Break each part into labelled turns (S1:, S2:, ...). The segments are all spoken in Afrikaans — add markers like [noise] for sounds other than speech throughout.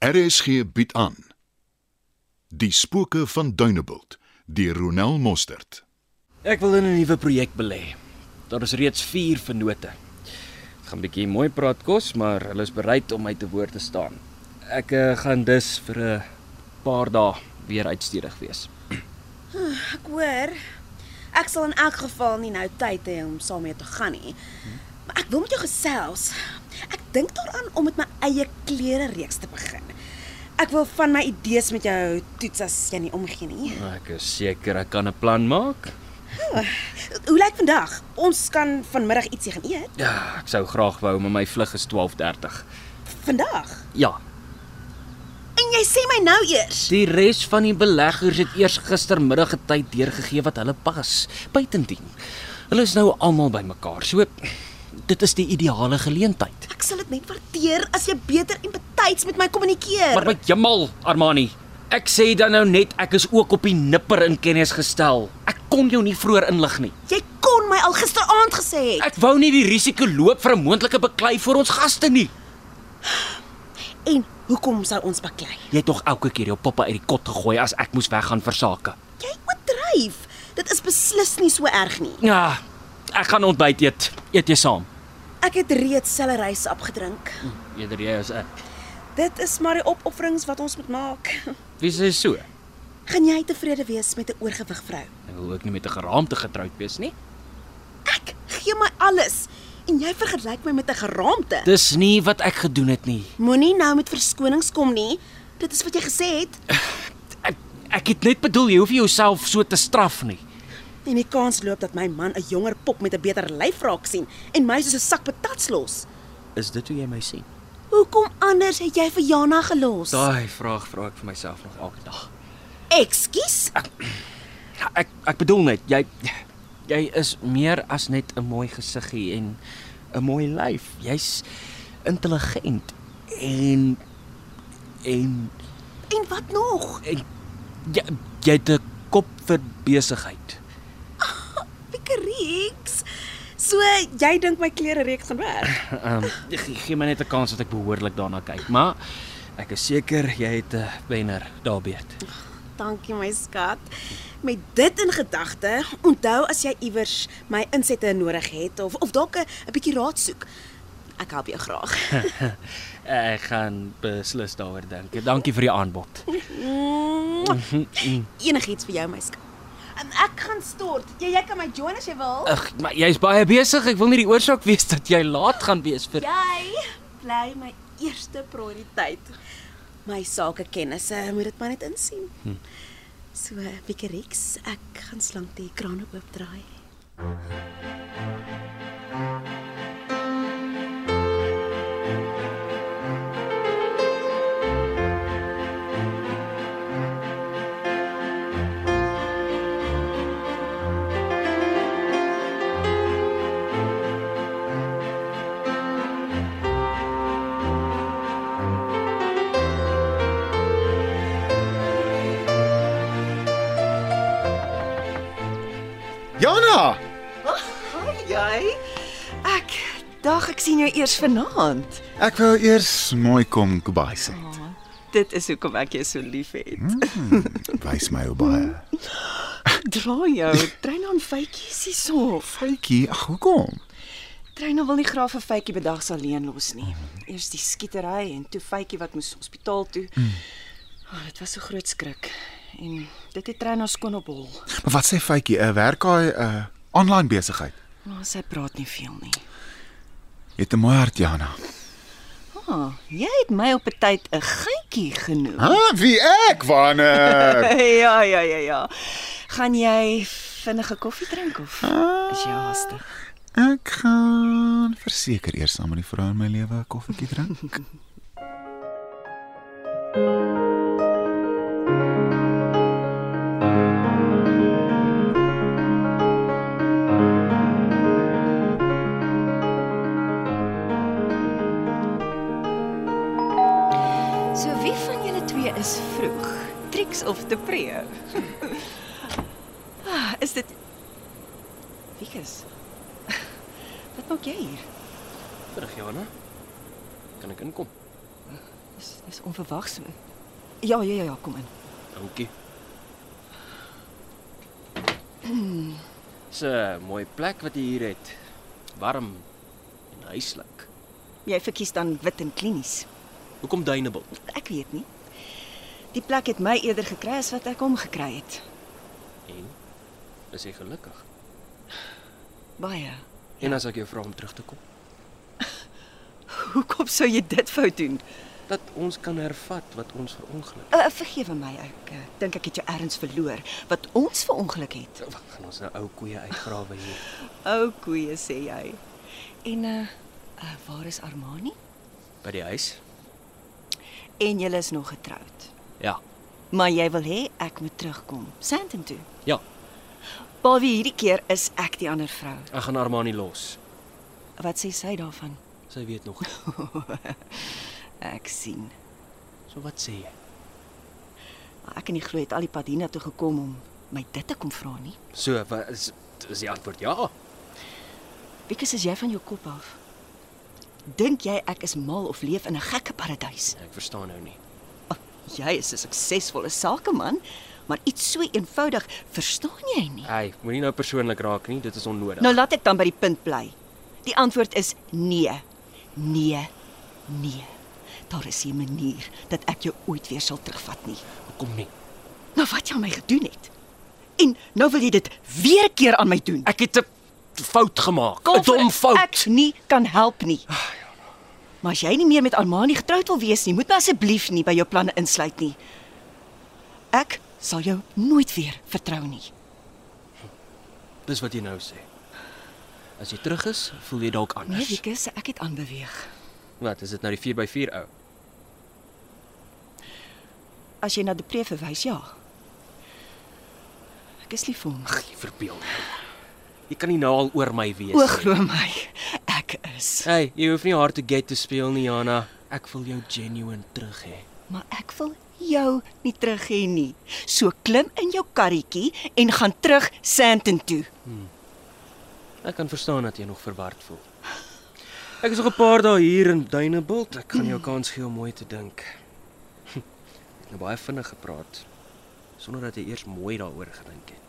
S1: RSG bied aan Die spooke van Dunebuld deur Ronel Mostert.
S2: Ek wil in 'n nuwe projek belê. Daar is reeds 4 vennote. Dit gaan bietjie mooi praat kos, maar hulle is bereid om my te woord te staan. Ek uh, gaan dus vir 'n paar dae weer uitstedig wees.
S3: Ek hoor. Ek sal in elk geval nie nou tyd hê om saam mee te gaan nie. Maar ek wil met jou gesels. Ek dink daaraan om met my eie klere reeks te begin. Ek wil van my idees met jou toets as jy nie omgee nie.
S2: Ek is seker ek kan 'n plan maak.
S3: Hoe lyk vandag? Ons kan vanmiddag ietsie gaan eet.
S2: Ja, ek sou graag wou, maar my vlug is 12:30.
S3: Vandag.
S2: Ja,
S3: En jy sê my nou eers.
S2: die res van die beleggers het eers gistermiddag getyd deurgegee wat hulle pas. Buitendien, hulle is nou almal bymekaar. So dit is die ideale geleentheid.
S3: Ek sal dit net waardeer as jy beter en betyds met my kommunikeer.
S2: Maar my jemmel, Armani. Ek sê dan nou net ek is ook op die nipper in kennis gestel. Ek kon jou nie vroeër inlig nie.
S3: Jy kon my al gisteraand gesê het.
S2: Ek wou nie die risiko loop vir 'n moontlike beklei vir ons gaste nie.
S3: En hoekom sou ons baklei?
S2: Jy het tog elke keer jou pappa uit die kot gegooi as ek moes weggaan vir sake.
S3: Jy oordryf. Dit is beslis nie so erg nie.
S2: Ja, ek gaan ontbyt eet. Eet jy saam?
S3: Ek het reeds sellerysap gedrink.
S2: Eerder jy as ek.
S3: Dit is maar die opofferings wat ons moet maak.
S2: Wie sê so?
S3: [laughs] Gaan jy tevrede wees met 'n oorgewig vrou?
S2: Ek wil ook nie met 'n geraamte getroud wees nie.
S3: Ek gee my alles en jy vergelyk my met 'n geraamte.
S2: Dis nie wat ek gedoen het nie.
S3: Moenie nou met verskonings kom nie. Dit is wat jy gesê het
S2: Ek ek het net bedoel jy hoef nie jouself so te straf nie.
S3: en die kans loop dat my man 'n jonger pop met 'n beter lyf raak sien en my soos 'n sak patats los.
S2: Is dit hoe jy my sien?
S3: Hoekom anders het jy vir Jana gelos?
S2: Daai vraag vra ek vir myself nog elke dag.
S3: Ekskuus?
S2: Ja, Ek ek bedoel net jy jy is meer as net 'n mooi gesiggie en 'n mooi lyf. Jy's intelligent en en
S3: En wat nog?
S2: jy, jy het 'n kop vir besigheid.
S3: Pikkerieks. So jy dink my klere reeks gaan werk?
S2: Ehm um, ge, gee my net 'n kans dat ek behoorlik daarna kyk, maar ek is seker jy het 'n wenner daarbeet.
S3: Dankie my skat. Met dit in gedagte, onthou as jy iewers my insette nodig het of of dalk 'n 'n bietjie raad soek. Ek help jou [laughs] graag.
S2: Ek gaan beslis daaroor dink. Dankie vir die aanbod.
S3: Mm. Enigiets vir jou my skat. En ek gaan stort. Jy jy kan my join as jy wil.
S2: Ag, maar jy's baie besig. Ek wil nie die oorsaak wees dat jy laat gaan wees vir
S3: Jy bly my eerste prioriteit. My sakekennisse moet dit maar net insien. So, Pikkerieks, ek gaan slank die krane oopdraai.
S4: Jana,
S5: Jy? Ek dag ek sien jou eers vanaand.
S4: ek wou eers mooi kom kubai sê.
S5: Dit is hoekom ek jou so liefhet. Hmm?
S4: Wys my hoe baie.
S5: Dra jou, Treina aan feitjies hiersof.
S4: Kykie, ag hoekom?
S5: Treina wil nie graag vir feitjie bedags alleen los nie. Eers die skietery en toe feitjie wat moes hospitaal toe. Hmm. Oh, dit was so groot skrik en dit het Treina skoon op hol.
S4: Maar wat sê Kykie, uh, werk hy 'n uh, online besigheid?
S5: Maar sy praat nie veel nie.
S4: Jy het 'n mooi hart, Jana.
S5: Ah, jy het my op 'n tyd 'n geitjie genoem.
S4: Ha, wie ek wanneer?
S5: [laughs] ja, ja, ja, ja. Gaan jy vinnige koffie drink of is jy haastig?
S4: [laughs] ek gaan verseker eers aan met die vrou in my lewe 'n koffietjie [laughs] drink.
S6: So wie van julle twee is vroeg?
S5: Tricks of the Preo. [laughs] Ah, is dit Wikus? [laughs] Wat maak jy hier?
S2: Terug, Jana. Kan ek inkom?
S6: Dis dis onverwags. so. Ja, ja, ja, ja, kom in.
S2: Dankie. Dis 'n mooi plek wat jy hier het. Warm en huislik.
S5: Jy verkies dan wit en klinies.
S2: Hoekom Dunebuld?
S5: Ek weet nie. Die plek het my eerder gekry as wat ek hom gekry het.
S2: En is jy gelukkig?
S5: Baie. [laughs]
S2: En as ek jou vra om terug te kom,
S5: Hoekom sou jy dit fout doen?
S2: dat ons kan hervat wat ons verongeluk.
S5: Uh, vergewe my, ek uh, dink ek het jou erns verloor wat ons vir ongeluk het.
S2: het. Wat gaan ons nou ou koeie uitgrawe hier?
S5: Ou koeie sê jy. En uh, uh waar is Armani?
S2: [laughs] By die huis?
S5: En julle is nog getroud.
S2: Ja.
S5: Maar jy wil hê ek moet terugkom, Sandton toe.
S2: Ja,
S5: Behalwe hierdie keer is ek die ander vrou.
S2: ek gaan Armani los.
S5: Wat sê sy daarvan?
S2: Sy weet nog. nie.
S5: [laughs] Ek sien.
S2: So wat sê jy?
S5: Ek kan nie glo hy het al die pad hiernatoe gekom om my dit te kom vra nie.
S2: So wa- is is die antwoord ja.
S5: Wikus, is jy van jou kop af? Dink jy ek is mal of leef in 'n gekke paradys?
S2: Ek verstaan nou nie.
S5: Oh, jy is 'n suksesvolle sakeman, maar iets so eenvoudig, verstaan jy nie?
S2: Hey, moenie nou persoonlik raak nie, dit is onnodig.
S5: Nou laat ek dan by die punt bly. Die antwoord is nee. Nee. Nee. Daar is nie 'n manier dat ek jou ooit weer sal terugvat nie.
S2: kom nie.
S5: Nou wat jy aan my gedoen het. En nou wil jy dit weer 'n keer aan my doen.
S2: Ek het 'n fout gemaak. 'n
S5: Kolfer,
S2: dom fout. Ah, ja.
S5: Ek nie kan help nie. Maar as jy nie meer met Armani getroud wil wees nie, moet my asseblief nie by jou planne insluit nie. Ek sal jou nooit weer vertrou nie.
S2: Dis wat jy nou sê. As jy terug is, voel jy dalk
S5: Nee,
S2: anders.
S5: Wikus, ek het aanbeweeg.
S2: Wat, is dit nou die 4x4 ou?
S5: As jy na die preef verwys, ja. Ek is lief vir hom.
S2: Ag, jy verbeel. jou. Jy kan nie nou al oor my wees
S5: O, glo my, ek is.
S2: Hey, jy hoef nie hard to get te speel nie, Jana. Ek wil jou genuine terug hê.
S5: Maar ek wil jou nie terug hê nie. So klim in jou karretjie en gaan terug Sandton toe.
S2: Ek kan verstaan dat jy nog verward voel. Ek is nog 'n paar dae hier in Dunebuld. Ek gaan jou kans gee om mooi te dink. Ek het nou baie vinnig gepraat sonder dat jy eers mooi daaroor gedink het.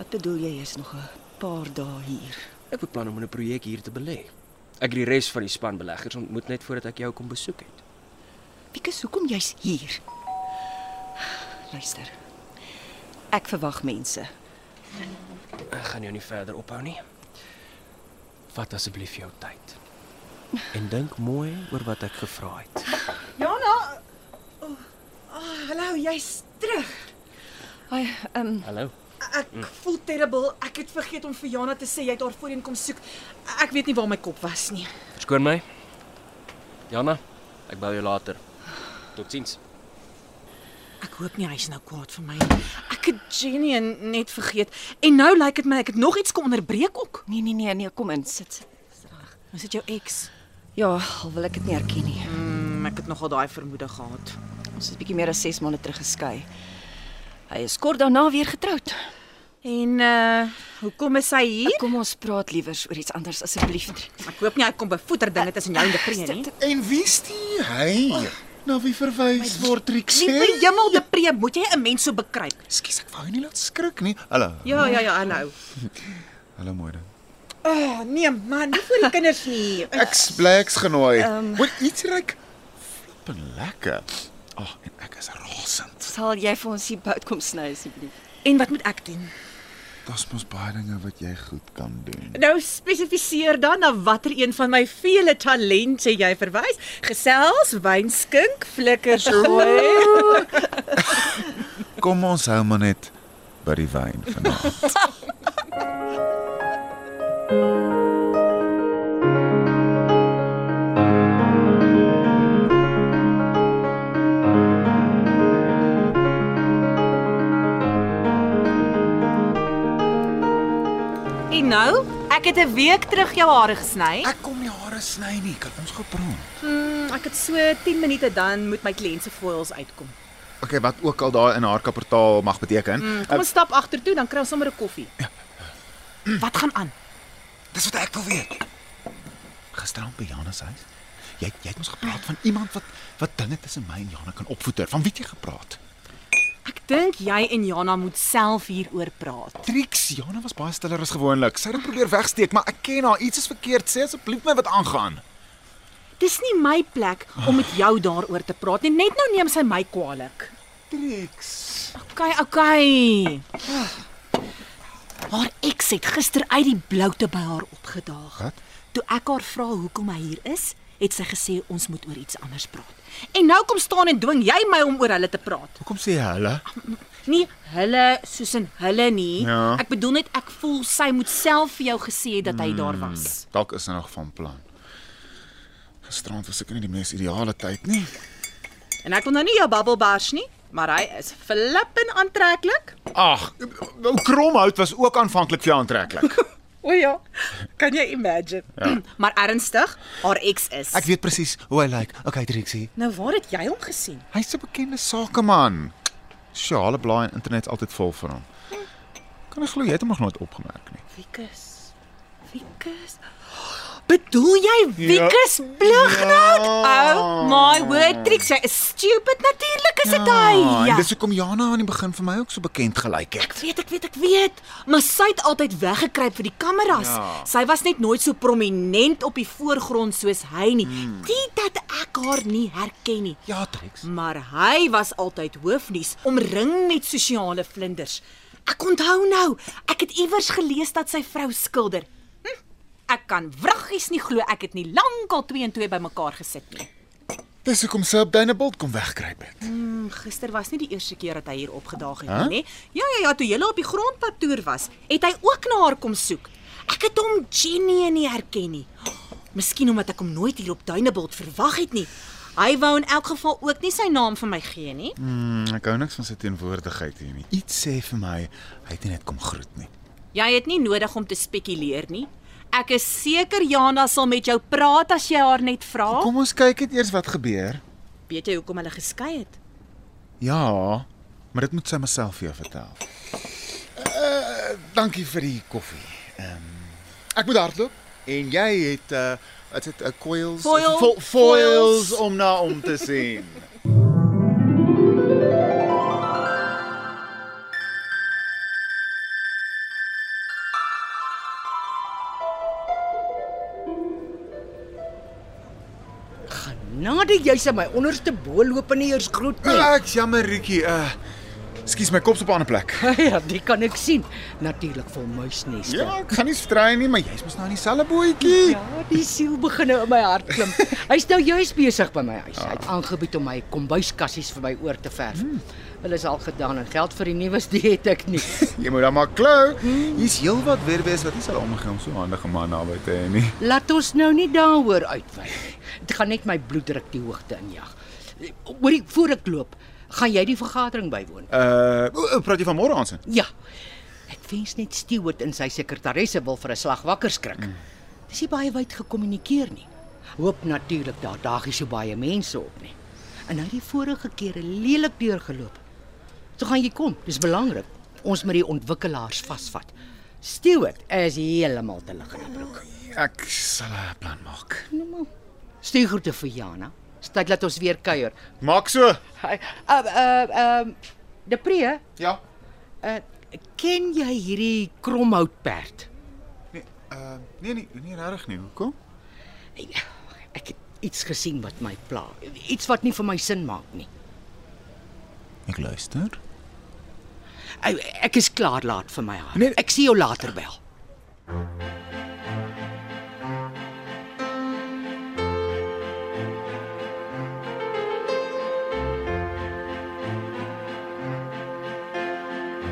S5: Wat bedoel jy, jy's nog 'n paar dae hier?
S2: Ek beplan om in 'n projek hier te belê. Ek het die res van die span beleggers ontmoet net voordat ek jou kom besoek het.
S5: Wikus, hoekom jy's hier? Luister. Ek verwag mense.
S2: Ek gaan jou nie verder ophou nie. Vat asseblief jou tyd. En dink mooi oor wat ek gevra het.
S3: Jana. Oh, hallo, jy's terug.
S5: Ai, ehm um,
S2: Hallo.
S7: Ek voel terrible. Ja, Ek het vergeet om vir Jana te sê jy het haar voorheen kom soek. Ek weet nie waar my kop was nie.
S2: Verskoon my. Jana, ek bel jou later. Totsiens.
S7: Ek hoop nie hy's nou kwaad vir my nie. Ek het Jenny net vergeet en nou lyk dit my ek het nog iets kom onderbreek ook.
S5: nee nee nee nee, kom in, sit. sit.
S7: Is dit jou ex?
S5: Ja, al wil ek dit nie erken nie.
S7: Mm, ek het nogal daai vermoede gehad.
S5: Ons is bietjie meer as 6 maande terug geskei. Hy is kort daarna weer getroud.
S7: En uh hoekom is hy hier?
S5: Kom ons praat liewers oor iets anders asseblief. [laughs]
S7: Ek hoop nie hy kom bevoeter dinge tussen jou en Depree nie.
S4: En wie stuur hy? Oh, na wie verwys word Trixie?
S7: Liewe hemel Depree, moet jy 'n mens so bekruip?
S4: Ekskuus, ek wou jou nie laat skrik nie. Hallo.
S7: Ja, ja, ja, nou.
S4: Hallo mooi dan.
S7: O, oh, nee man, nie vir die kinders nie.
S4: Ek's blaks genooi. Um, Wat iets ryk flippin lekker. Ag, oh, en ek is rasend.
S5: Sal jy vir ons hier bout kom sny asseblief?
S7: [laughs] En wat moet ek doen?
S4: Daar's mos baie dinge wat jy goed kan doen.
S7: Nou spesifiseer dan na watter een van my vele talente jy verwys. Gesels, wyn skink, flikkers rooi.
S4: Kom ons hou maar net by die wyn vanaand.
S7: en nou, ek het 'n week terug jou hare gesny.
S4: [laughs] ek kom nie hare sny nie. Kan ons gepraat?
S7: Mm, ek het so 10 minute dan moet my kliënt se foils uitkom.
S4: Okay, wat ook al daai in haar kapitaal mag beteken. Eh,
S7: Mm, kom ons stap agtertoe dan kry ons sommer 'n koffie. Wat gaan aan?
S4: Dis wat ek wil weet. Gisterand by Janus huis. Jy jy het ons gepraat van iemand wat wat dinge tussen my en Jana kan opvoeder. Van wie het jy gepraat?
S7: Ek dink jy en Jana moet self hieroor praat.
S4: Trix, Jana was baie stiller as gewoonlik. Sy het dit probeer wegsteek, maar ek ken haar. Iets is verkeerd. Sê asseblief my wat aangaan.
S7: Dis nie my plek om met jou daaroor te praat nie. Net nou neem sy my kwaadlik.
S4: Trix.
S7: OK, OK. Haar eks het gister uit die bloute by haar opgedaag.
S4: Wat?
S7: Toe ek haar vra hoekom hy hier is, het sy gesê ons moet oor iets anders praat. En nou kom staan en dwing jy my om oor hulle te praat.
S4: Hoekom sê jy hulle?
S7: Nie hulle soos in hulle nie.
S4: Ja.
S7: Ek bedoel net ek voel sy moet self vir jou gesê het dat hy daar was.
S4: Hmm, Dalk is hy nog van plan. Gisterand was seker nie die mees ideale tyd nee. nie.
S7: En ek wil nou nie jou bubble bars nie, maar hy is flippend aantreklik.
S4: Ag, ou kromhout was ook aanvanklik vir jou aantreklik.
S7: [laughs] O ja. Kan jy imagine? Ja. maar ernstig, haar eks is.
S4: Ek weet presies hoe hy lyk. Like. Okay, Trixie.
S7: Nou waar het jy hom gesien?
S4: Hy's 'n bekende sakeman. Sosiale blaaie en internet's altyd vol van hom. Kan ek glo jy het hom nog nooit opgemerk nie.
S7: Wikus. Wikus. [gasps] Bedoel jy Wikus ja. Blighnout? Ja. Oh my word, Trix, jy is stupid natuurlik is dit
S4: Ah,
S7: hy. Ja.
S4: en dis hoekom Jana aan die begin vir my ook so bekend gelyk het.
S7: Ek weet, ek weet, ek weet, maar sy het altyd weggekruip vir die kameras.
S4: Ja.
S7: Sy was net nooit so prominent op die voorgrond soos hy nie. Mm. Dit dat ek haar nie herken nie.
S4: Hmm. Ja, Trix.
S7: Maar hy was altyd hoofnuus, omring met sosiale vlinders. Ek onthou nou, ek het iewers gelees dat sy vrou skilder. Hm, ek kan wraggies nie glo ek het nie lankal 2 en 2 bymekaar gesit nie.
S4: Dis hoekom sy op Dynabolt kom wegkruip het.
S7: Hmm, gister was nie die eerste keer dat hy hier opgedaag het nie, hè? Ja ja ja, toe jy op die grondpatoer was, het hy ook na haar kom soek. Ek het hom Jenny nie herken nie. Miskien omdat ek hom nooit hier op Duinebult verwag het nie. Hy wou in elk geval ook nie sy naam vir my gee nie.
S4: Mm, ek hou niks van sy teenwoordigheid hier nie. Iets sê vir my hy het nie net kom groet nie.
S7: Jy het nie nodig om te spekuleer nie. Ek is seker Jana sal met jou praat as jy haar net vra.
S4: Kom ons kyk net eers wat gebeur.
S7: Weet jy hoekom hulle geskei het?
S4: Ja, maar dit moet sy myself vir jou vertel. Uh, dankie vir die koffie. Ehm um, ek moet hardloop en jy het uh wat is dit uh, coils
S7: Foil-
S4: Fo- foils
S7: foils.
S4: om na om te [laughs] sien.
S6: Genade, jy's aan my onderste bo loop en nie eers groet
S5: [laughs]
S6: nie.
S4: Nee,
S5: Ja,
S4: Ek jammer Rietjie. Uh Skus my kop's op 'n ander plek.
S6: Ja, dit kan ek sien. Natuurlik vol muisneste.
S4: Ja, ek gaan nie strei nie, maar jy's mos nou in dieselfde bootjie.
S6: Ja, die siel begin nou in my hart klim. Hy's nou juis besig by my huis. Hy het aangebied om my kombuiskassies vir my oor te verf.
S5: Hmm.
S6: Hulle is al gedaan en geld vir die nuwe [laughs] dieet ek nie.
S4: Jy moet dan maar klou. Hier's heelwat weer wees wat nie sal omgee om so 'n handige man naby te hê nie.
S6: Laat ons nou nie daaroor uitwy nie. Dit gaan net my bloeddruk die hoogte injag. Hoorie, voor ek loop, gaan jy die vergadering bywoon?
S4: Uh o, o, praat jy van môre aan se?
S6: Ja. Ek wens net Stewart en sy sekretaresse wil vir 'n slag wakker skrik. Dis nie baie wyd gekommunikeer nie. Hoop natuurlik daar dagies so baie mense op nie. En hy het die vorige kere lelik deurgeloop. Toe gaan jy kom, dis belangrik. Ons moet die ontwikkelaars vasvat. Stewart is heeltemal te lig in die broek.
S4: Ek sal 'n plan maak.
S6: Stuur groete vir Jana. Stad laat ons weer kuier.
S4: Maak so.
S6: Hy uh uh ehm Depree,
S4: Ja.
S6: uh ken jy hierdie kromhoutperd?
S4: Nee, uh, nee nee, nie regtig nie. Hoekom?
S6: Ek het iets gesien wat my pla. Iets wat nie vir my sin maak nie.
S4: Ek luister.
S6: Ou, Ek is klaar laat vir my haar.
S4: Nee.
S6: Nee. Ek sien jou later bel.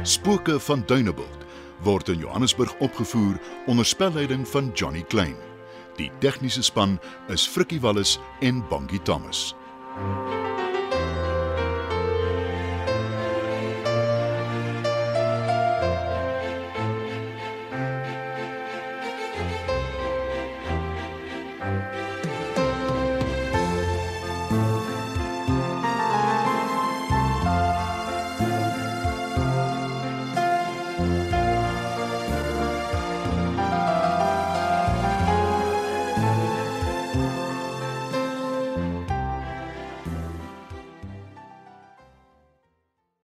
S1: Spooke van Dunebuld word in Johannesburg opgevoer onder spelleiding van Johnny Klein. Die tegniese span is Frikkie Wallis en Bongie Thomas.